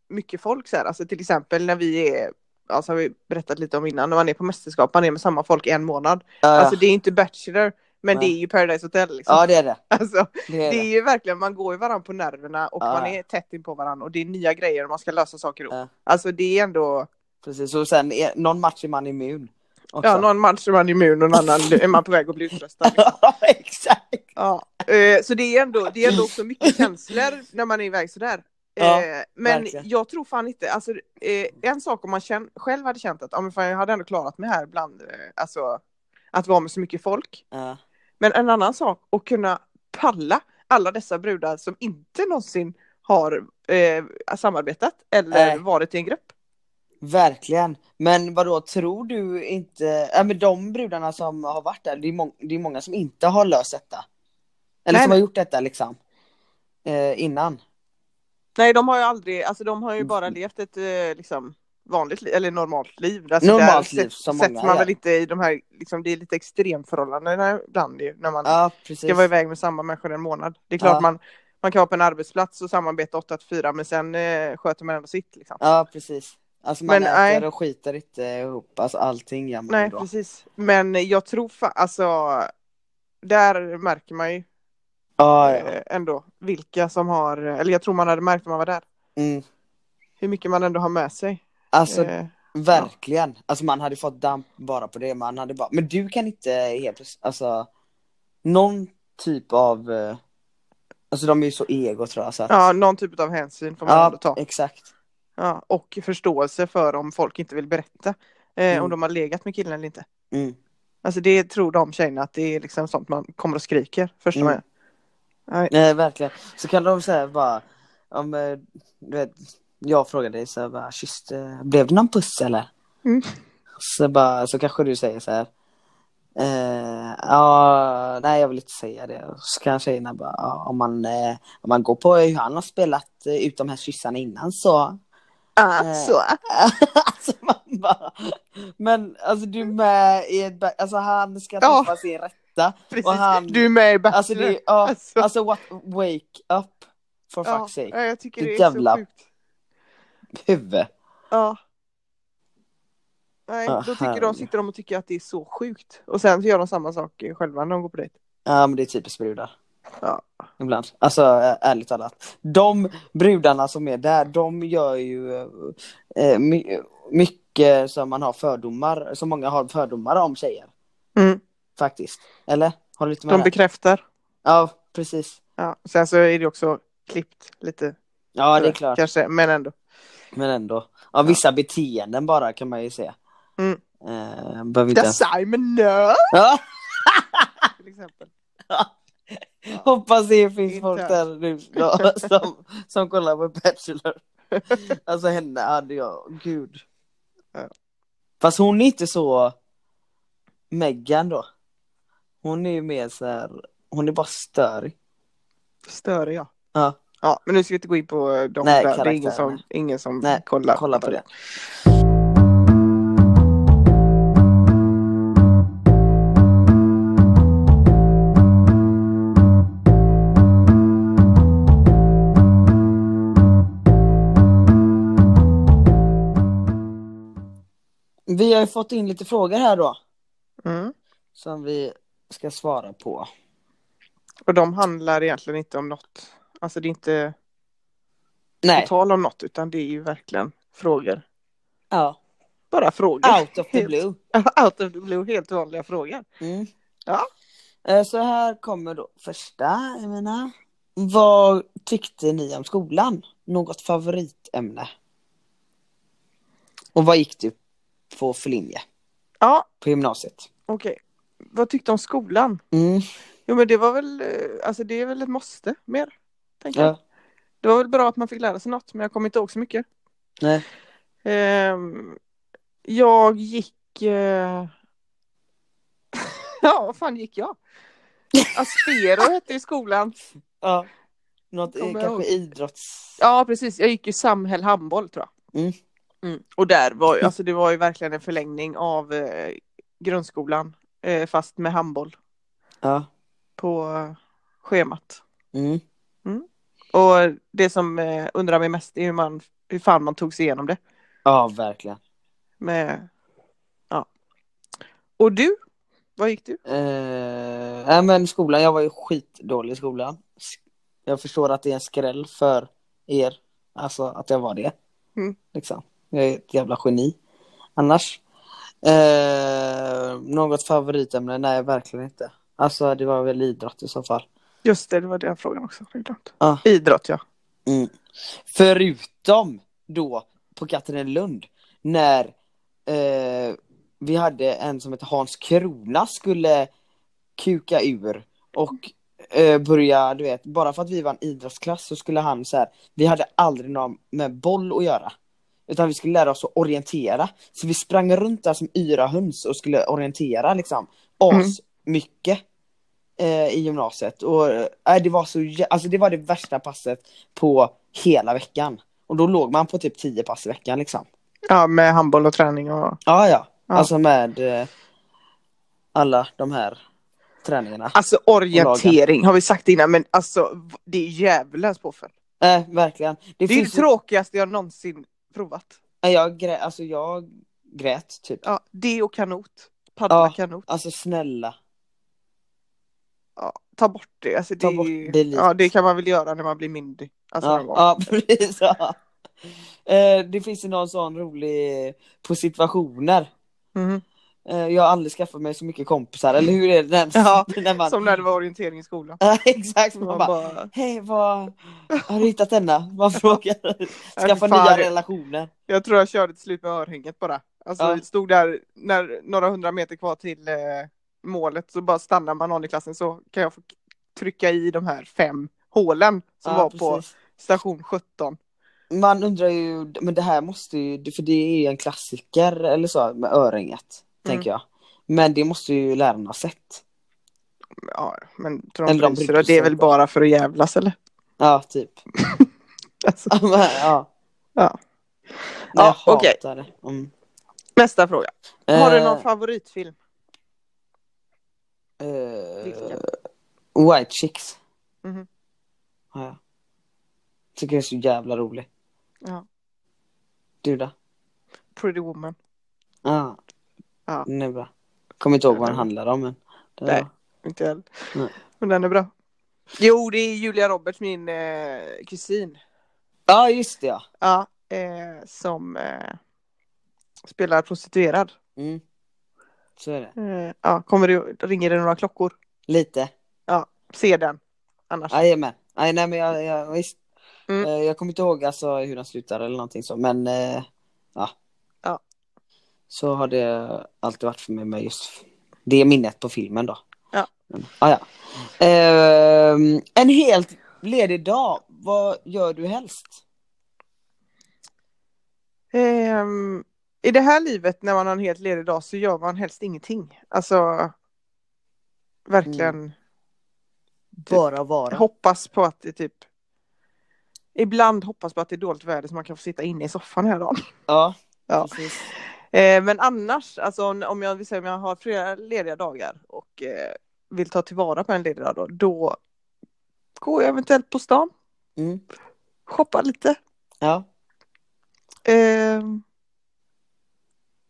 mycket folk. Så här. Alltså, till exempel när vi är, alltså, har vi berättat lite om innan, när man är på mästerskap, man är med samma folk en månad.
Ja,
Alltså det är inte Bachelor,
Nej.
men det är ju Paradise Hotel. Liksom.
ja det är det.
Alltså,
det, är
det
det.
är ju verkligen, man går ju varandra på nerverna och
Ja.
man är tätt in på varandra och det är nya grejer och man ska lösa saker ihop.
Ja.
Alltså det är ändå,
Precis, och sen är, någon match är man immun. Också.
ja, någon match är man immun och någon annan är man på väg att bli utröstad. Liksom.
Exakt.
Ja, eh, så det är, ändå, det är ändå också mycket känslor när man är iväg sådär.
Ja,
Eh, men
verkligen.
jag tror fan inte, alltså eh, en sak om man känn, själv hade känt att ja, men fan, jag hade ändå klarat mig här bland, eh, alltså att vara med så mycket folk.
Ja.
Men en annan sak, att kunna palla alla dessa brudar som inte någonsin har eh, samarbetat eller
Nej.
varit i en grupp.
Verkligen. Men vadå, tror du inte... Ja, men de brudarna som har varit där, det är, mång- det är många som inte har löst detta. Eller
Nej,
som
nej.
har gjort detta liksom. Eh, innan.
Nej, de har ju aldrig, alltså de har ju
Mm.
bara levt ett eh, liksom vanligt li- eller normalt liv. Alltså,
Normalt
där
liv, som
sätts
många
man
gör.
väl inte i de här, liksom, det är lite extremförhållanden eh, ibland ju, när man
Ja, precis.
ska vara iväg med samma människor en månad. Det är klart
Ja.
man, man kan vara på en arbetsplats och samarbeta 8 till 4 men sen eh, sköter man ändå sitt liksom.
Ja, precis. Alltså man
Men
äter
nej.
och skiter inte ihop, alltså allting gör man
Nej,
ju då.
precis. Men jag tror fa- alltså, där märker man ju
Ja, ja.
eh, ändå vilka som har, eller jag tror man hade märkt när man var där,
Mm.
hur mycket man ändå har med sig.
Alltså
Eh,
verkligen. Alltså man hade fått damp bara på det. Man hade bara... Men du kan inte helt plötsligt- alltså någon typ av... eh, Alltså de är ju så ego tror jag. Så att...
Ja, någon typ av hänsyn får man ändå ta.
exakt.
Ja, och förståelse för om folk inte vill berätta eh,
Mm.
om de har legat med killen eller inte.
Mm.
Alltså det tror de tjejerna att det är liksom sånt man kommer och skriker första
Mm.
mm. Nej.
Nej, verkligen. Så kan de säga bara, om, eh, du vet, jag frågade dig så här, bara, kysste, blev det någon puss eller?
Mm.
Så, bara, så kanske du säger så här, eh, ja, nej jag vill inte säga det. Och Så kan tjejerna bara, ja, om man, eh, om man går på hur han har spelat eh, ut de här kyssarna innan så. Ah.
Alltså.
alltså man bara, men alltså du är med i ett, ba- alltså han ska
Ja.
träffa sin rätta.
Precis.
Och han-
Du är med i Bachelor.
Alltså det, ja.
Alltså,
Alltså what, wake up for
ja,
fuck's sake.
ja, jag tycker
Ditt
det är
jävla-
så sjukt.
Huvud.
Ja. Nej,
Ja,
då tycker de,
Ah, herregud.
sitter de och tycker att det är så sjukt. Och sen så gör de samma sak själva när de går på dejt.
Ja men det är typiskt brudar.
Ja.
Ibland. Alltså ä- ärligt talat. De brudarna som är där, de gör ju eh, my- mycket som man har fördomar, som många har fördomar om tjejer.
Mm.
Faktiskt. Eller? Håller du inte med?
De
där?
bekräftar.
Ja, precis.
Ja. Sen så är det också klippt lite.
Ja det är
sådär,
klart.
Kanske, men ändå.
Men ändå. Ja, vissa beteenden bara kan man ju se.
Mm.
Eh, behöver inte
The
ens...
Simon no!
Ja,
Till exempel.
hoppas det finns
Inte
folk
alls.
där nu ja, som, som kollar på Bachelor. Alltså henne hade jag, gud.
Ja.
Fast hon är inte så Meghan då. Hon är ju mer så här, hon är bara störig.
Stör jag.
Ja.
Ja, men nu ska vi inte gå in på eh, de
Nej,
där. Det är ingen
karaktärerna.
som, ingen som
Nej,
kollar,
Mm, kolla på det. Vi har ju fått in lite frågor här då.
Mm.
Som vi ska svara på.
Och de handlar egentligen inte om något. Alltså det är inte på
Nej.
tal om något utan det är ju verkligen frågor.
Ja.
Bara frågor.
Out of the
Helt-
blue.
Out of the blue, helt vanliga frågor.
Mm.
Ja.
Eh, Så här kommer då första, jag menar. Vad tyckte ni om skolan? Något favoritämne? Och vad gick du på för linje
Ja,
på gymnasiet?
okej. Vad tyckte du om skolan?
Mm.
Jo men det var väl, eh, alltså det är väl ett måste mer. Tänker jag.
Ja.
Det var väl bra att man fick lära sig något men jag kommer inte ihåg så mycket.
Nej.
Ehm, jag gick... Eh... ja, vad fan gick jag? Aspero hette ju skolan.
Ja. Något, eh,
Kommer jag
kanske idrotts...
Ja, precis. Jag gick ju Samhäll handboll tror jag.
Mm.
Mm. Och där var ju, alltså det var ju verkligen en förlängning av eh, grundskolan. Eh, fast med handboll
Ja.
på eh, schemat.
Mm.
Och det som eh, undrar mig mest är hur, man, hur fan man tog sig igenom det.
ja, verkligen.
Med, ja. Och du? Vad gick du?
Eh, nej, men skolan, jag var ju skitdålig i skolan. Jag förstår att det är en skräll för er, alltså att jag var det.
Mm.
Liksom. Jag är ett jävla geni annars. Eh, något favoritämne? Nej, verkligen inte. Alltså det var väl idrott i så fall.
Just det, det var den frågan också. Jag glömt.
Ah.
Idrott ja.
Mm. Förutom då på Katrinelund när eh, vi hade en som hette Hans Krona skulle kuka ur och eh, börja, du vet, bara för att vi var en idrottsklass så skulle han så här, vi hade aldrig någon med boll att göra. Utan vi skulle lära oss att orientera. Så vi sprang runt där som yra höns och skulle orientera liksom as mycket eh, i gymnasiet. Och eh, det var så jä- alltså det var det värsta passet på hela veckan. Och då låg man på typ 10 pass i veckan liksom.
Ja, med handboll och träning och...
Ja, ja.
Ja.
Alltså med eh, alla de här träningarna.
Alltså orientering har vi sagt innan, men alltså v- det är djävulens påföljd.
Eh, verkligen. Det,
Det är det
finns ju-
tråkigaste jag någonsin provat.
Nej, jag, grä, alltså, jag grät typ.
Ja, det och kanot. Paddla
Ja.
kanot.
Alltså snälla.
Ja, ta bort det. Alltså, det,
Ta
är
bort
ju-
det lite.
ja, det kan man väl göra när man blir myndig. Alltså,
Ja,
någon gång.
ja precis. Ja. Eh, det finns ju någon sån rolig på situationer.
Mhm.
Eh, jag har aldrig skaffat mig så mycket kompisar, eller hur är det? När,
Ja,
när man,
Som när det var orientering i skolan.
Ja, Exakt, man,
Man
bara,
bara,
hej vad har du hittat denna? Man frågar, skaffa
Ja, fan,
nya
det-
relationer.
jag tror jag körde till slut med örhänget bara. Alltså
Ja.
vi stod där när, några hundra meter kvar till eh, målet så bara stannar man någon i klassen så kan jag få k- trycka i de här fem hålen som
Ja,
var på
precis.
station 17.
Man undrar ju, men det här måste ju, för det är ju en klassiker eller så med öringet,
Mm.
tänker jag. Men det måste ju lärarna ha sett.
Ja, men tror de
Eller de
bryr sig
brydde
då? Det är
sig
väl
inte.
bara för att jävlas eller?
Ja, typ.
Alltså.
ja. ja.
Ja.
Men jag
Ja, okej.
hatar det. Mm.
Nästa fråga. Har du
Eh,
någon favoritfilm?
eh,
Vilken?
White Chicks.
Mhm.
Ja, ja. Tycker det är så jävla rolig.
Ja.
Du då?
Pretty Woman.
Ja.
Ja.
Den är bra. Kommer inte ihåg vad den
Ja.
handlar om men. Den är
Nej.
bra.
Inte jag.
Nej.
Men den är bra. Jo, det är Julia Roberts, min eh, kusin.
Ja just det ja.
Ja, eh, som eh, spelar prostituerad.
Mm. Så är det.
Eh, ja, kommer du, ringer det några klockor?
Lite.
Ja, se den. Annars.
Jajamän. Nej nej men jag, jag visst.
Mm.
Eh, Jag kommer inte ihåg alltså hur den slutar eller någonting så men eh, ja.
Ja.
Så har det alltid varit för mig med just det minnet på filmen då.
Ja.
Men, ah, ja. Ehm, en helt ledig dag, vad gör du helst?
Ehm, I det här livet när man har en helt ledig dag så gör man helst ingenting. Alltså, verkligen.
Bara vara.
Hoppas på att det typ Ibland hoppas på att det är dåligt väder så man kan få sitta inne i soffan hela dagen.
Ja,
Ja.
precis.
Eh, men annars, alltså om, om, jag, vill säga, om jag har flera lediga dagar och eh, vill ta tillvara på en ledig dag då, då går jag eventuellt på stan,
Mm.
shoppar lite.
Ja.
Eh, Ehm,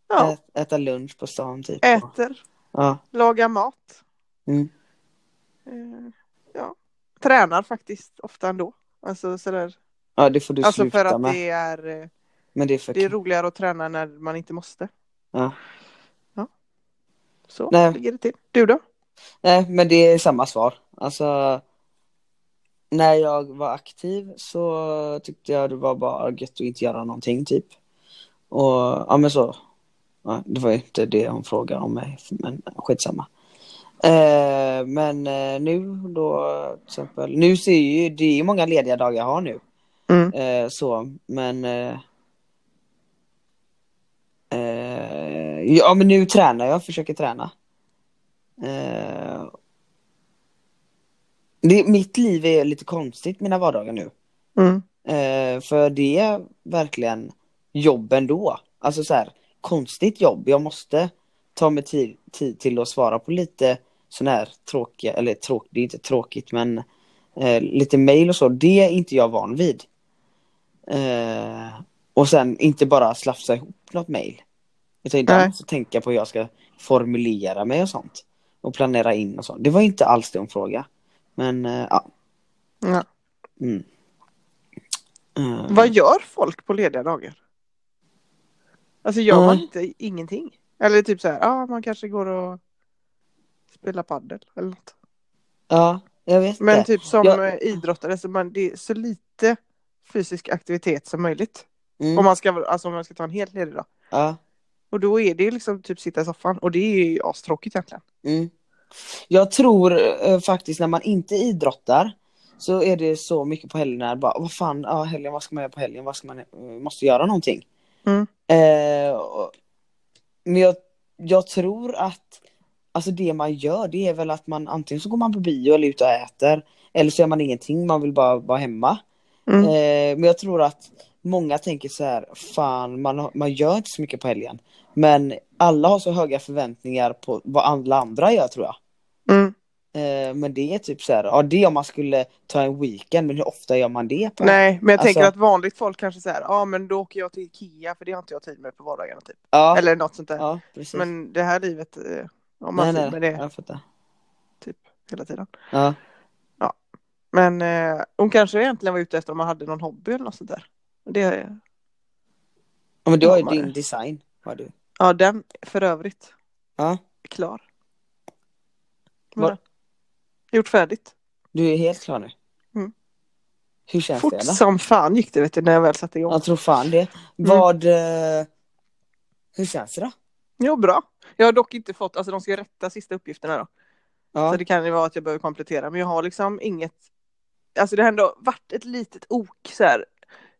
ja, Eh.
Ät, Äta lunch på stan typ.
Äter,
Ja.
lagar mat.
Mm.
Eh, ja. Tränar faktiskt ofta ändå. Alltså sådär.
ja, det får du
Alltså
sluta
för att
med.
det är, eh,
Men det är för
det är roligare att träna när man inte måste.
Ja.
Ja. Så
Nej.
ligger det till. Du då?
Nej, men det är samma svar. Alltså, när jag var aktiv så tyckte jag det var bara gött att inte göra någonting typ. Och ja men så. Ja, det var ju inte det hon frågade om mig, men skitsamma. Eh, men eh, nu då till exempel, nu ser ju, det är ju många lediga dagar jag har nu.
Mm.
Eh, så, men... Eh, eh, ja, men nu tränar jag, försöker träna. Eh, det, mitt liv är lite konstigt, mina vardagar nu.
Mm.
Eh, för det är verkligen jobb ändå. Alltså så här, konstigt jobb. Jag måste ta mig tid, tid till att svara på lite sån här tråkiga, eller tråk, det är inte tråkigt men eh, lite mail och så. Det är inte jag van vid. Eh, och sen inte bara slafsa ihop något mail. Utan inte
Nej.
alls tänka på hur jag ska formulera mig och sånt. Och planera in och sånt. Det var inte alls det hon frågade. Men eh, ja.
Ja.
Mm. Eh,
Vad gör folk på lediga dagar? Alltså gör man
Nej.
inte ingenting? Eller typ så här, ja ah, man kanske går och spelar padel eller något.
Ja, jag vet
Men
det.
typ som
Jag-
eh, idrottare så man, det är så lite fysisk aktivitet som möjligt.
Mm.
Om, man ska, alltså om man ska ta en helt ledig dag.
Ja,
Och då är det liksom typ sitta i soffan och det är ju astråkigt egentligen.
mm. Jag tror eh, faktiskt när man inte idrottar så är det så mycket på helgerna bara vad fan, ja helgen, vad ska man göra på helgen, vad ska man, eh, måste göra någonting.
Mm.
Eh, och, men jag, jag tror att alltså det man gör det är väl att man antingen så går man på bio eller ut och äter eller så gör man ingenting, man vill bara vara hemma.
Mm.
Eh, men jag tror att många tänker så här, fan man, har- man gör inte så mycket på helgen. Men alla har så höga förväntningar på vad alla andra gör tror jag.
Mm.
Eh, men det är typ så här, ja det är om man skulle ta en weekend, men hur ofta gör man det? På
Nej, men jag tänker
Alltså-
att vanligt folk kanske säger, ja ah, men då åker jag till Ikea för det har inte jag tid med på vardagarna typ.
Ja,
Eller något sånt där.
ja precis.
Men det här livet, eh, om man har tid med det
jag fattar.
hela tiden.
Ja.
Men eh, hon kanske egentligen var ute efter om man hade någon hobby eller något sånt där. Det,
Ja, men du har ju
Ja, man-
din design, har du.
ja, den för övrigt
Ja,
är klar.
Var-
Vadå? Gjort färdigt.
du är helt klar nu.
Mm.
Hur känns
Fort
det då?
som fan gick det vet du, när jag väl satte igång.
Jag tror fan
Mm.
det. Vad, eh, hur känns det då?
Jo, bra. Jag har dock inte fått, alltså de ska ju rätta sista uppgifterna då. Så
Ja,
det kan ju vara att jag behöver komplettera, men jag har liksom inget. Alltså det har ändå varit ett litet ok så här.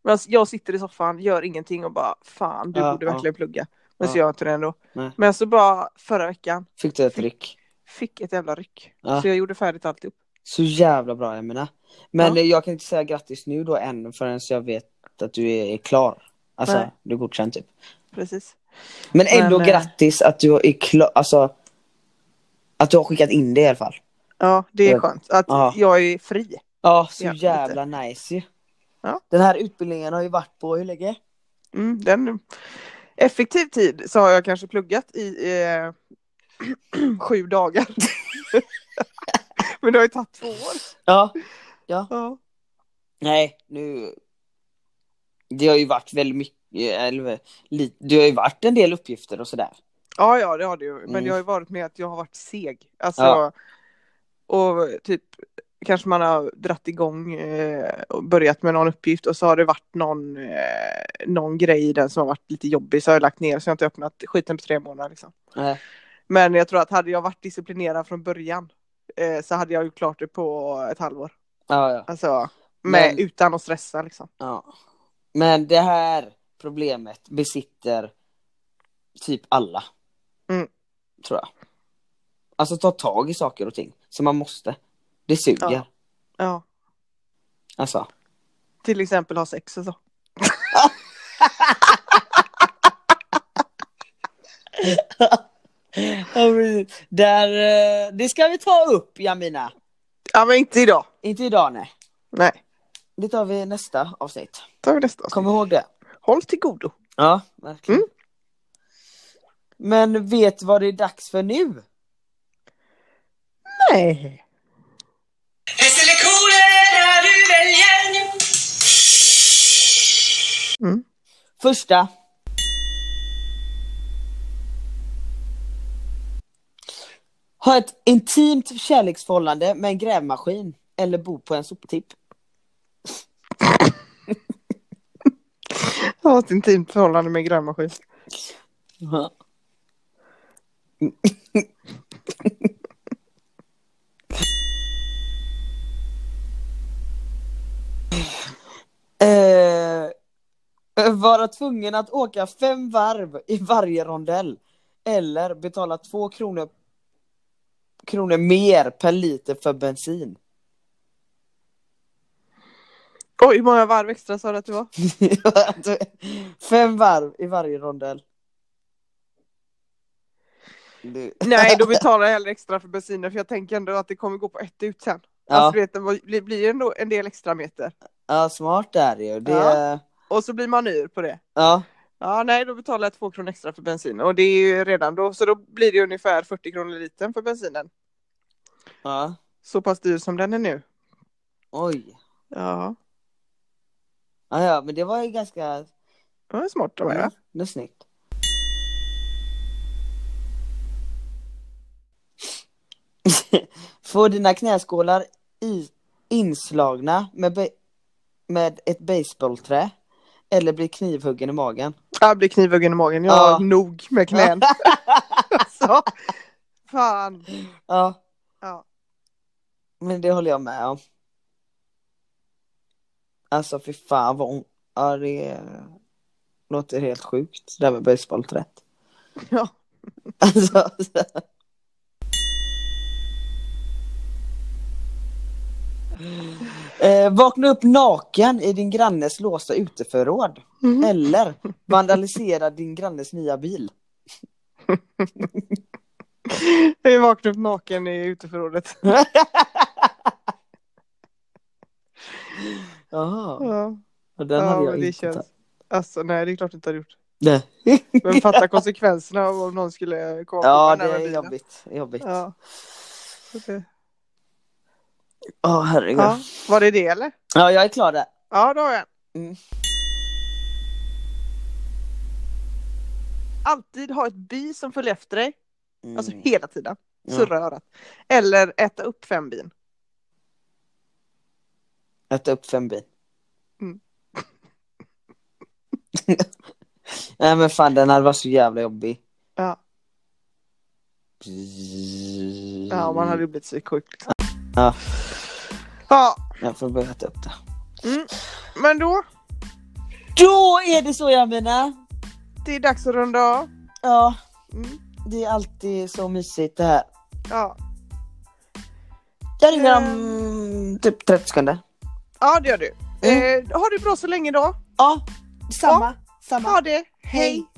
Men alltså, jag sitter i soffan, gör ingenting och bara fan, du
Ja,
borde
ja.
verkligen plugga. Men så
Ja.
gör jag inte det ändå.
Nej.
Men så bara förra veckan
fick du ett ryck?
fick ett jävla ryck.
Ja.
Så jag gjorde färdigt alltihop.
Så jävla bra jag menar. Men
Ja.
eh, jag kan inte säga grattis nu då än förrän jag vet att du är klar. Alltså
Nej.
du är godkänd typ.
Precis.
Men ändå
Men, eh,
grattis att du är klar, alltså. Att du har skickat in det i alla fall.
Ja, det är
Ja.
skönt att
Eh, Ja.
jag är fri.
Ja, så
Ja, lite.
jävla nice ju.
Ja.
Den här utbildningen har ju varit på hur länge?
Mm, den effektiv tid så har jag kanske pluggat i eh, sju dagar. Men det har ju tagit två år.
Ja.
Ja.
Nej, nu. Det har ju varit väldigt mycket, eller lite, det har ju varit en del uppgifter och sådär.
ja, ja, det har det ju. Men
Mm.
det har ju varit med att jag har varit seg. Alltså,
Ja.
och typ kanske man har dratt igång eh, och börjat med någon uppgift och så har det varit någon, eh, någon grej i den som har varit lite jobbig så har jag lagt ner så jag har inte öppnat skiten på tre månader liksom.
Nej.
Men jag tror att hade jag varit disciplinerad från början eh, så hade jag ju klart det på ett halvår.
Ja, ja.
Alltså med,
Men-
utan att stressa liksom.
Ja. Men det här problemet besitter typ alla.
Mm.
Tror jag. Alltså ta tag i saker och ting. Så man måste. Det suger.
Ja. Ja,
Alltså.
till exempel ha sex och så.
Ja, precis. Där, eh, det ska vi ta upp Jamina.
Ja, men inte idag.
Inte idag nej.
Nej,
Det tar vi i nästa avsnitt.
tar vi nästa.
Mm. Kom ihåg det.
Håll till godo.
Ja, verkligen. Men vet du vad det är dags för nu?
Nej.
Häst eller kolera, du väljer nu.
Mm.
Första. Ha ett intimt kärleksförhållande med en grävmaskin eller bo på en soptipp.
Jag har ett intimt förhållande med grävmaskin.
Eh, eh, vara tvungen att åka fem varv i varje rondell eller betala två kronor, kronor mer per liter för bensin.
Oj, hur många varv extra sa du att det var?
Fem varv i varje rondell. Du-
Nej, då betalar jag hellre extra för bensinen för jag tänker ändå att det kommer gå på ett ut sen.
Ja,
Alltså, du vet, det blir- blir ju ändå en del extra meter.
ja smart är det ju. Det, ja.
Ja. Och så blir man yr på det.
Ja,
Ja, nej, då betalar jag två kronor extra för bensin och det är ju redan då, så då blir det ungefär 40 kronor liten för bensinen. Så pass dyr som den är nu.
Oj.
Ja,
Ja, ja, men det var ju ganska...
det var smart av mig. va?
Mm, det är snyggt. Få dina knäskålar i, inslagna med, be, med ett baseballträ eller bli knivhuggen i magen.
Jag blir knivhuggen i magen, jag har
Ja.
nog med knän. alltså. Fan.
Ja,
Ja.
men det håller jag med om. Alltså fy fan vad ont. Ja, det låter helt sjukt det där med baseballträet.
Ja.
Alltså. Eh, vakna upp naken i din grannes låsta uteförråd.
Mhm.
Eller vandalisera din grannes nya bil.
Jag vaknade upp naken i uteförrådet.
Jaha,
Ja,
och den
ja
hade
men
jag
det
inte
känns.
tagit.
Alltså nej, det är klart du inte har gjort.
Nej.
Men fatta konsekvenserna av om någon skulle komma på
Ja,
den
det
här
är
bilen.
jobbigt. jobbigt. Ja,
Ja. Okej.
herregud.
Ja.
Ja.
Var det det eller?
jag är klar där.
Ja, då har jag en.
Mm.
Alltid ha ett bi som följer efter dig,
Mm.
alltså hela tiden.
Ja.
Surra örat. Eller äta upp fem bin.
Äta upp fem bin.
Mm.
Nej men fan den hade varit så jävla jobbig.
Ja,
Mm.
ja man hade ju blivit psyksjuk. Liksom.
Ja.
ja,
Jag får börja äta upp det.
men då.
Då är det så Jamina.
Det är dags att runda av.
Ja,
Mm.
det är alltid så mysigt det här.
Ja.
Jag ringer
Ehm.
om typ 30 sekunder.
ja, det gör du.
Mm.
Eh, ha det bra så länge då.
Ja, samma. Samma.
Ha det. Hej.
Hej.